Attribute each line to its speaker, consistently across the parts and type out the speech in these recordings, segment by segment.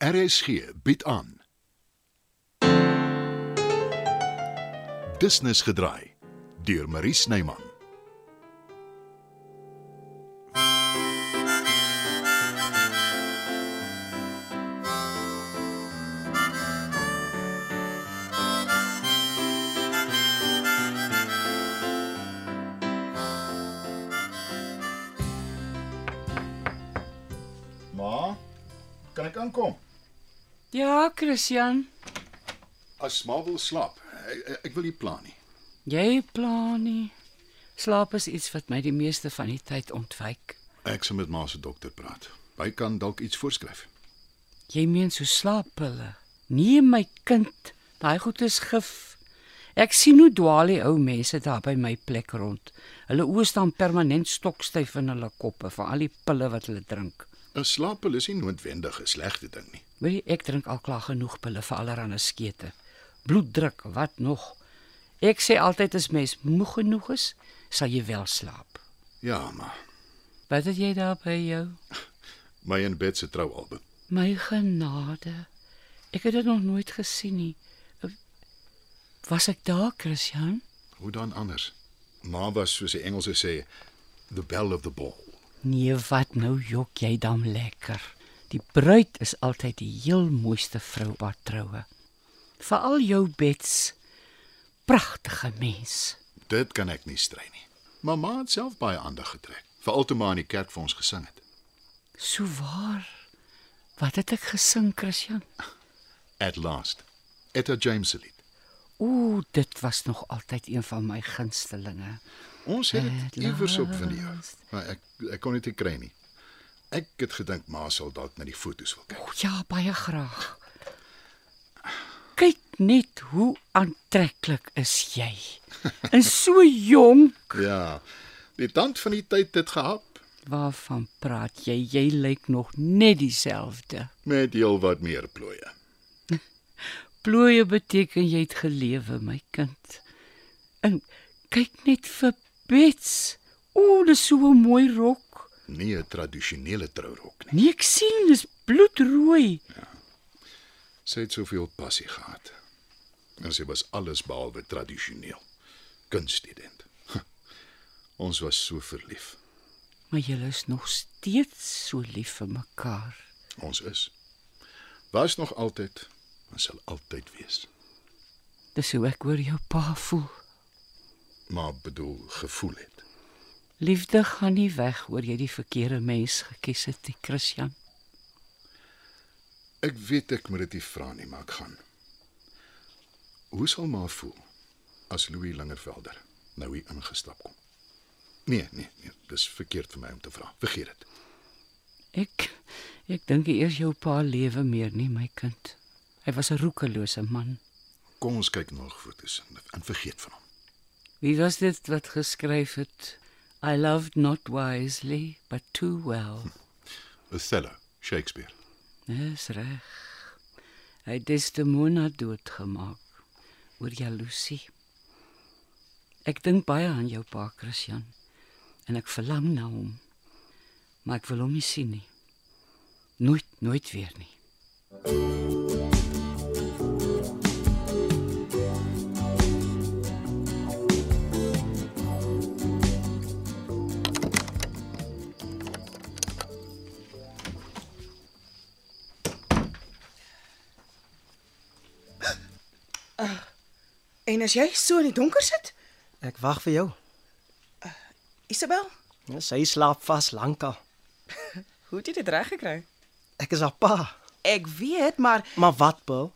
Speaker 1: RSG bied aan. Business gedraai deur Marie Snyman.
Speaker 2: Ma, kan ek aankom?
Speaker 3: Ja, Christian,
Speaker 1: As ma wil slaap, ek, ek wil nie plan nie.
Speaker 3: jy pla nie. Slaap is iets wat my die meeste van die tyd ontwyk.
Speaker 1: Ek sal met ma se dokter praat. Hy kan dalk iets voorskryf.
Speaker 3: Jy meen so slaaphulle. Nee my kind, daai goed is gif. Ek sien hoe dwaal die ou mense daar by my plek rond. Hulle oë staan permanent stokstyf in hulle koppe van al die pille wat hulle drink.
Speaker 1: 'n Slaappil is nie noodwendig 'n slegte ding nie.
Speaker 3: Weet jy, ek drink al klaar genoeg pille vir allerlei skete. Bloeddruk, wat nog? Ek sê altyd as mens moeg genoeg is, sal jy wel slaap.
Speaker 1: Ja, ma.
Speaker 3: Wat het jy daar by jou?
Speaker 1: My en bed se troualbum.
Speaker 3: My genade. Ek het dit nog nooit gesien nie. Was ek daar, Christian?
Speaker 1: Hoe dan anders? Ma was soos die Engelse sê, the belle of the ball.
Speaker 3: Nee, wat nou jok jy dan lekker. Die bruid is altyd die heel mooiste vrou op haar troue. Veral jou bets. Pragtige mens.
Speaker 1: Dit kan ek nie strei nie. Maar ma het self baie aandag getrek, veral toe ma in die kerk vir ons gesing het.
Speaker 3: So waar. Wat het ek gesing, Christian?
Speaker 1: At last. Etta James se lied.
Speaker 3: Ooh, dit was nog altyd een van my gunstelinge.
Speaker 1: Ons het dit
Speaker 3: At
Speaker 1: iewers op video,
Speaker 3: last.
Speaker 1: maar ek ek kon dit nie kry nie. Ek het gedink ma sal dalk na die foto's wil kyk.
Speaker 3: O ja, baie graag. Kyk net hoe aantreklik is jy. En so jonk.
Speaker 1: Ja. Die tand van die tyd het gehap
Speaker 3: Waarvan praat jy? Jy lyk nog net dieselfde.
Speaker 1: met heelwat meer plooie.
Speaker 3: Plooie beteken jy het gelewe, my kind. En kyk net vir Bets. O, dis so 'n mooi rok.
Speaker 1: Nie 'n tradisionele trourok nie.
Speaker 3: Nee, ek sien dis bloedrooi.
Speaker 1: Sy het soveel passie gehad. En sy was alles behalwe tradisioneel. Kunststudent. Ons was so verlief.
Speaker 3: Maar julle is nog steeds so lief vir mekaar.
Speaker 1: Ons is. Was nog altyd en sal altyd wees.
Speaker 3: Dis hoe ek oor jou pa voel.
Speaker 1: Maar bedoel gevoel het.
Speaker 3: Liefde gaan nie weg oor jy die verkeerde mens gekies het, die Christian.
Speaker 1: Ek weet ek moet dit nie vra nie, maar ek gaan. Hoe sal maar voel as Louis Lingervelder nou hier ingestap kom? Nee, nee, nee, dis verkeerd vir my om te vra. Vergeet dit.
Speaker 3: Ek ek dink nie eers jou pa lewe meer nie, my kind. Hy was 'n roekelose man.
Speaker 1: Kom ons kyk na foto's en, en vergeet van hom.
Speaker 3: Wie was dit wat geskryf het? I loved not wisely, but too well.
Speaker 1: Othello, Shakespeare.
Speaker 3: Dis reg. Hy het Desdemona doodgemaak oor jaloesie. Ek dink baie aan jou pa, Christian, en ek verlang na hom. Maar ek wil hom nie sien nie. Nooit, nooit weer nie.
Speaker 4: En as jy so in die donker sit,
Speaker 5: Ek wag vir jou.
Speaker 4: Isabel,
Speaker 5: Ja, Sy slaap vas lankal.
Speaker 4: hoe het jy dit reg gekry?
Speaker 5: Ek is haar pa.
Speaker 4: Ek weet, maar
Speaker 5: Maar wat, Bill?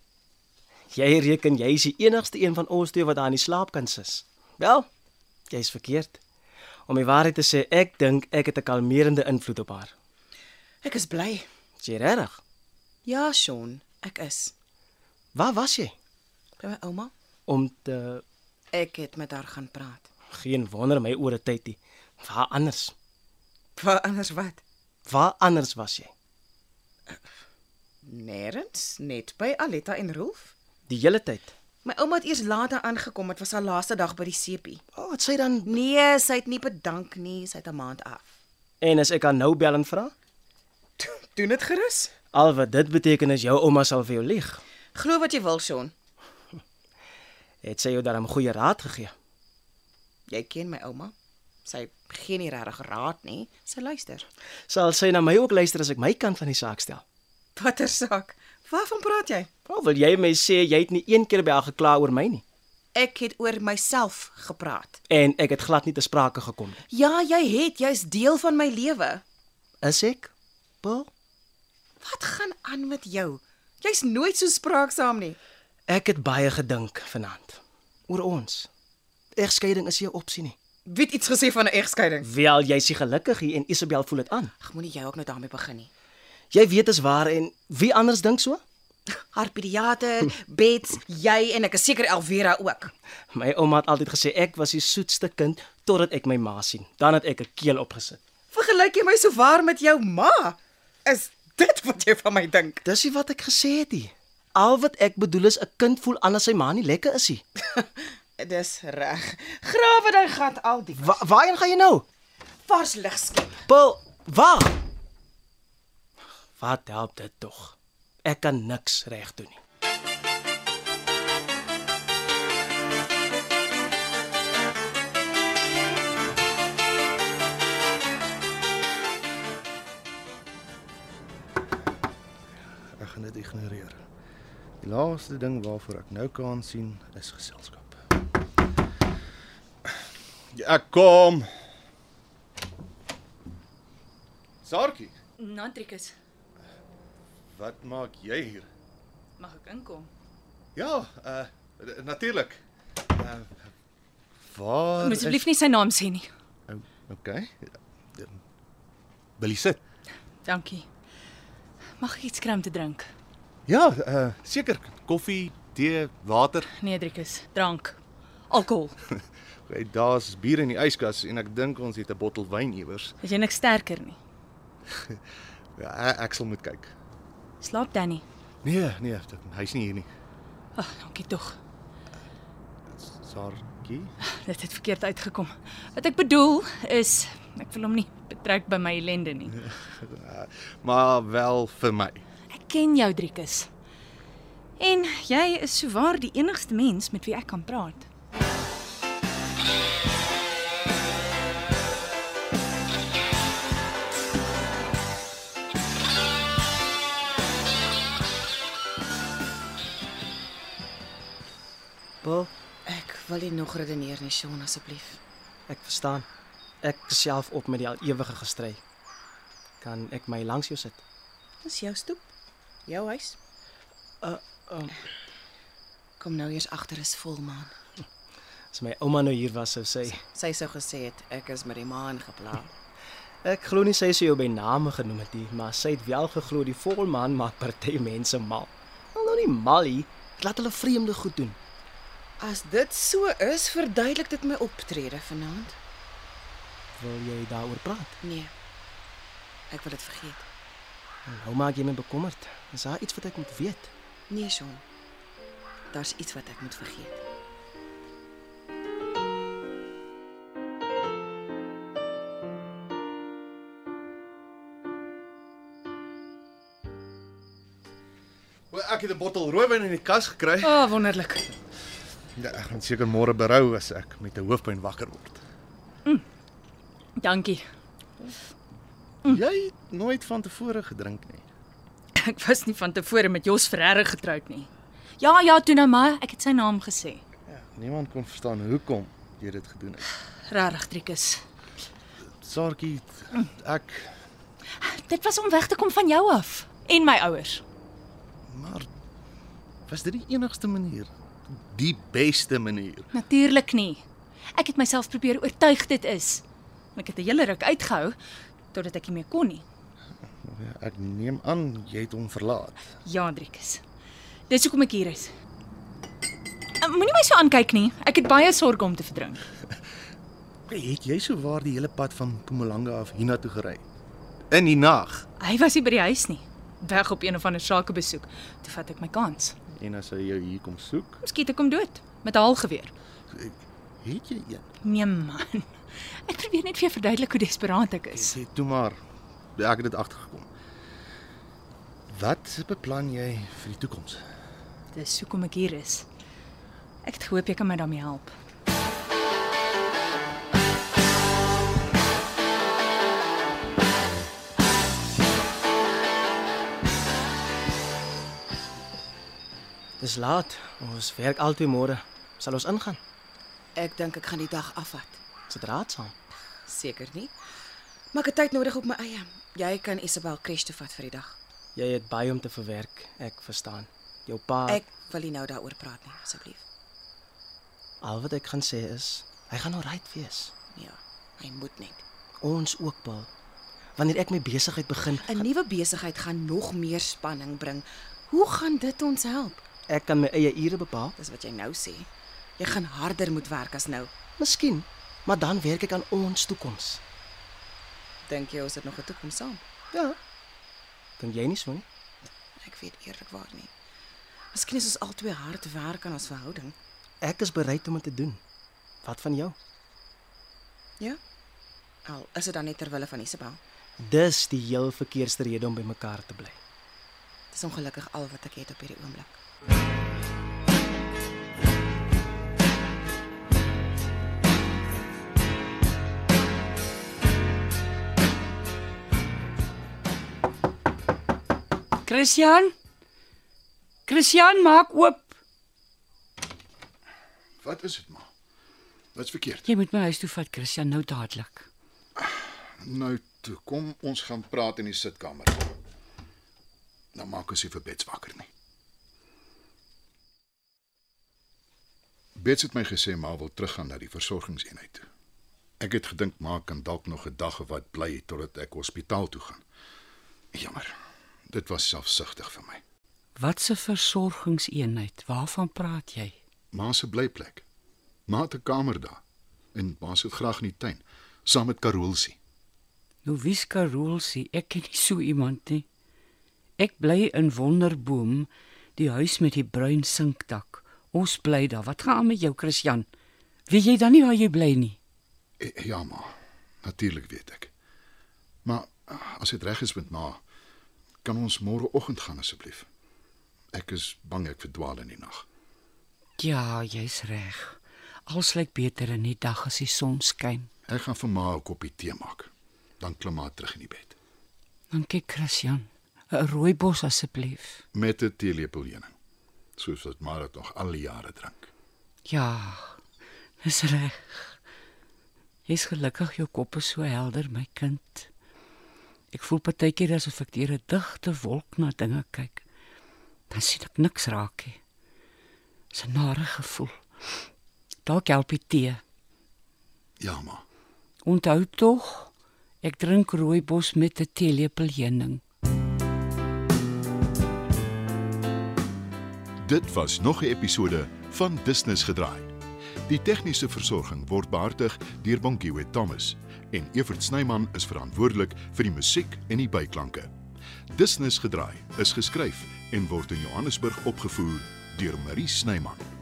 Speaker 5: Jy reken jy is die enigste een van ons twee wat daar in die slaap kan sis. Wel, jy's verkeerd. Om die waarheid te sê, ek dink ek het 'n kalmerende invloed op haar.
Speaker 4: ek is bly.
Speaker 5: Is jy reg?
Speaker 4: Ja, Sean, ek is
Speaker 5: Waar was jy?
Speaker 4: by my ouma.
Speaker 5: Om te
Speaker 4: Ek het met haar gaan praat.
Speaker 5: geen wonder my ore tyd nie. Waar anders?
Speaker 4: Waar anders wat?
Speaker 5: Waar anders was jy?
Speaker 4: Nêrens, net by Aletta en Rolf.
Speaker 5: Die hele tyd.
Speaker 4: My ouma het eers later aangekom, dit was haar laaste dag by die seepie.
Speaker 5: O, oh, het sy dan
Speaker 4: Nee, sy het nie bedank nie, sy het 'n maand af.
Speaker 5: En as ek haar nou bel en vra?
Speaker 4: Doen dit gerus.
Speaker 5: Al wat dit beteken is jou ouma sal vir jou lieg.
Speaker 4: Glo wat jy wil, Sean.
Speaker 5: Het sy jou daarom goeie raad gegee?
Speaker 4: Jy ken my ouma. Sy gee nie regtig raad nie. Sy luister.
Speaker 5: Sal sy na my ook luister as ek my kant van die saak stel?
Speaker 4: Watter saak? Waarvan praat jy?
Speaker 5: Of wil jy my sê jy het nie een keer by haar gekla oor my nie?
Speaker 4: Ek het oor myself gepraat.
Speaker 5: En ek het glad nie te sprake gekom nie.
Speaker 4: Ja, jy het, jy's deel van my lewe.
Speaker 5: Is ek? Paul,
Speaker 4: Wat gaan aan met jou? Jy's nooit so spraaksaam nie.
Speaker 5: ek het baie gedink vanaand oor ons. Egskeiding is nie 'n opsie nie.
Speaker 4: Wie het iets gesê van 'n egskeiding?
Speaker 5: Wel, jy's nie gelukkig hier en Isabel voel dit aan.
Speaker 4: Ag, moenie jy ook nou daarmee begin nie.
Speaker 5: Jy weet dis waar en wie anders dink so?
Speaker 4: Haar pediater, Bets, jy en ek is seker Elvira ook.
Speaker 5: My ouma het altyd gesê ek was die soetste kind totdat ek my ma sien. Dan het ek 'n keel opgesit.
Speaker 4: Vergelyk jy my so waar met jou ma? Is dit wat jy van my dink?
Speaker 5: Dis nie wat ek gesê het nie. Al wat ek bedoel is 'n kind voel aan as sy ma nie lekker is nie.
Speaker 4: Dis reg. Grawe dan gat al die
Speaker 5: Wa waarheen gaan jy nou?
Speaker 4: vars lig skep.
Speaker 5: Paul, waar? Wat help dit tog? Ek kan niks reg doen nie.
Speaker 1: Ek gaan dit ignoreer. Die laaste ding waarvoor ek nou kan sien is geselskap.
Speaker 6: Ja, ek kom.
Speaker 1: Saartjie,
Speaker 7: Nantrikus,
Speaker 1: wat maak jy hier?
Speaker 7: mag ek inkom?
Speaker 1: Ja, uh natuurlik. Uh waar
Speaker 7: Moet asseblief nie sy naam sê nie.
Speaker 1: Okay. Wil jy sit?
Speaker 7: Dankie. Mag ek iets kry om te drink?
Speaker 1: Ja, uh seker.
Speaker 8: Koffie, tee, water.
Speaker 7: Nee, Driekus, drank. Alkohol.
Speaker 1: Okay, daar's bier in die yskas en ek dink ons het 'n bottel wyn iewers.
Speaker 7: Is jy niks sterker nie?
Speaker 1: Ja, ek sal moet kyk.
Speaker 7: Slaap Danny.
Speaker 1: Nee, nee, hy's nie hier nie.
Speaker 7: Ag, dankie tog.
Speaker 1: Saartjie.
Speaker 7: Dit het verkeerd uitgekom. Wat ek bedoel is ek wil hom nie betrek by my ellende nie.
Speaker 1: Maar wel vir my.
Speaker 7: Ek ken jou, Driekus. En jy is souwaar die enigste mens met wie ek kan praat.
Speaker 5: Paul,
Speaker 4: Ek wil nie nog redeneer nie, Sean asseblief.
Speaker 5: Ek verstaan. Ek is self op met die al ewige gestry. Kan ek my langs jou sit?
Speaker 4: Dis jou stoep. Jou huis.
Speaker 5: Uh, um.
Speaker 4: Kom nou eers agter is volmaan.
Speaker 5: As my ouma nou hier was sou sy
Speaker 4: Sy sou gesê het ek is met die maan gepla.
Speaker 5: Ek glo nie sy sou jou by name genoem het nie, maar sy het wel geglo die volmaan maak party mense mal. Wel nou nie mal nie, dit laat hulle vreemde goed doen.
Speaker 4: As dit so is, verduidelik dit my optrede vanaand.
Speaker 5: Wil jy daaroor praat?
Speaker 4: Nee. Ek wil dit vergeet.
Speaker 5: Nou maak jy my bekommerd. Is daar iets wat ek moet weet?
Speaker 4: Nee, Sean. Daar's iets wat ek moet vergeet.
Speaker 1: Wel, ek het 'n bottel rooiwyn in die kas gekry.
Speaker 7: O, oh, wonderlik.
Speaker 1: Ja, ek gaan seker môre berou as ek met 'n hoofpyn wakker word.
Speaker 7: Dankie.
Speaker 1: Jy het nooit van tevore gedrink nie.
Speaker 7: Ek was nie van tevore met Jos Ferreira getroud nie. Ja, ja, toe nou maar, ek het sy naam gesê.
Speaker 1: Ja, Niemand kon verstaan hoekom jy dit gedoen het.
Speaker 7: Regtig, Driekus.
Speaker 1: Saartjie, ek
Speaker 7: Dit was om weg te kom van jou af en my ouers.
Speaker 1: maar was dit die enigste manier? Die beste manier.
Speaker 7: Natuurlik nie. Ek het myself probeer oortuig dit is. Ek het 'n hele ruk uitgehou totdat ek nie meer kon nie.
Speaker 1: Ja, Ek neem aan jy het hom verlaat.
Speaker 7: Ja, Andrikus. Dis hoekom ek hier is. Uh, Moenie my so aankyk nie. Ek het baie sorg om te verdrink.
Speaker 1: Hey, het jy so waar die hele pad van Mpumalanga af hiernatoe gery? In die nag.
Speaker 7: Hy was nie by die huis nie. Weg op een of ander sakebesoek. Toe vat ek my kans.
Speaker 1: En as hy jou hier kom soek,
Speaker 7: Miskien ek hom dood met 'n haalgeweer.
Speaker 1: het jy een.
Speaker 7: Nee man. Ek probeer net vir jou verduidelik hoe desperaat ek is.
Speaker 1: Sê toe maar. Ja, Ek het dit agtergekom.
Speaker 9: Wat beplan jy vir die toekoms?
Speaker 7: Dis hoekom ek hier is. Ek het gehoop jy kan my daarmee help.
Speaker 5: Dis laat. Ons werk altyd môre. Sal ons ingaan?
Speaker 4: Ek dink ek gaan die dag afvat.
Speaker 5: Dis draadsaam.
Speaker 4: Seker nie. Maar ek het tyd nodig op my eie. Jy kan Isabel crash toe vat vir die dag.
Speaker 5: Jy het baie om te verwerk. Ek verstaan. Jou pa
Speaker 4: Ek wil nie nou daaroor praat nie, asseblief.
Speaker 5: al wat ek gaan sê is, hy gaan alright wees.
Speaker 4: Ja, hy moet net.
Speaker 5: Ons ook, Paul. Wanneer ek my besigheid begin,
Speaker 4: 'n Nuwe besigheid gaan nog meer spanning bring. Hoe gaan dit ons help?
Speaker 5: ek kan my eie ure bepaal.
Speaker 4: Dis wat jy nou sê. Jy gaan harder moet werk as nou.
Speaker 5: Miskien, maar dan werk ek aan ons toekoms.
Speaker 4: Dink jy ons het nog 'n toekoms saam?
Speaker 5: Ja. Dink jy nie so nie?
Speaker 4: Ek weet eerlikwaar nie. Miskien is ons albei hard werk aan ons verhouding.
Speaker 5: Ek is bereid om dit te doen. Wat van jou?
Speaker 4: Ja. Al is dit dan net ter wille van Isabel.
Speaker 5: Dis die heel verkeerste rede om by mekaar te bly.
Speaker 4: Dis ongelukkig al wat ek het op hierdie oomblik.
Speaker 3: Christian? Christian, maak oop.
Speaker 1: Wat is dit maar? Wat's verkeerd?
Speaker 3: Jy moet my huis toe vat, Christian, nou dadelik.
Speaker 1: Nou toe, kom ons gaan praat in die sitkamer. Dan maak ons nie vir Bets wakker nie. Bets het my gesê ma wil teruggaan na die versorgingseenheid toe. Ek het gedink ma kan dalk nog 'n dag of wat bly totdat ek hospitaal toe gaan. Jammer. Dit was selfsugtig vir my.
Speaker 3: Wat 'n versorgingseenheid. Waarvan praat jy?
Speaker 1: Ma se blyplek. Ma het 'n kamer daar en ma sit graag in die tuin saam met Karolsie.
Speaker 3: Nou wie's Karolsie? Ek ken nie so iemand nie. Ek bly in Wonderboom, die huis met die bruin sinkdak. Ons bly daar. Wat gaan aan met jou, Christian? Weet jy dan nie waar jy bly nie?
Speaker 1: Eh, Ja, ma. Natuurlik weet ek. Maar eh, as dit reg is met ma, kan ons môreoggend gaan asseblief. Ek is bang ek verdwaal in die nag.
Speaker 3: Ja, jy's reg. Alles lyk beter in die dag as die son skyn.
Speaker 1: Ek gaan vir ma 'n koppie tee maak. Dan klim maar terug in die bed
Speaker 3: Dankie, Christian. 'n Rooi bos asseblief.
Speaker 1: met 'n teelepel heuning, soos wat ma dit nog al die jare drink.
Speaker 3: Ja. Dis reg. Jy's gelukkig jou kop is so helder, my kind. Ek voel partykeer asof ek deur 'n digte wolk na dinge kyk. Dan sien ek niks raak nie. Dis 'n nare gevoel. Dalk help die tee.
Speaker 1: Ja, ma.
Speaker 3: Onthou tog, ek drink rooibos met 'n teelepel heuning.
Speaker 10: Dit was nog 'n episode van Business Gedraai. Die tegniese versorging word behartig deur Bonnie Witt Thomas en Evert Snyman is verantwoordelik vir die musiek en die byklanke. Business Gedraai is geskryf en word in Johannesburg opgevoer deur Marie Snyman.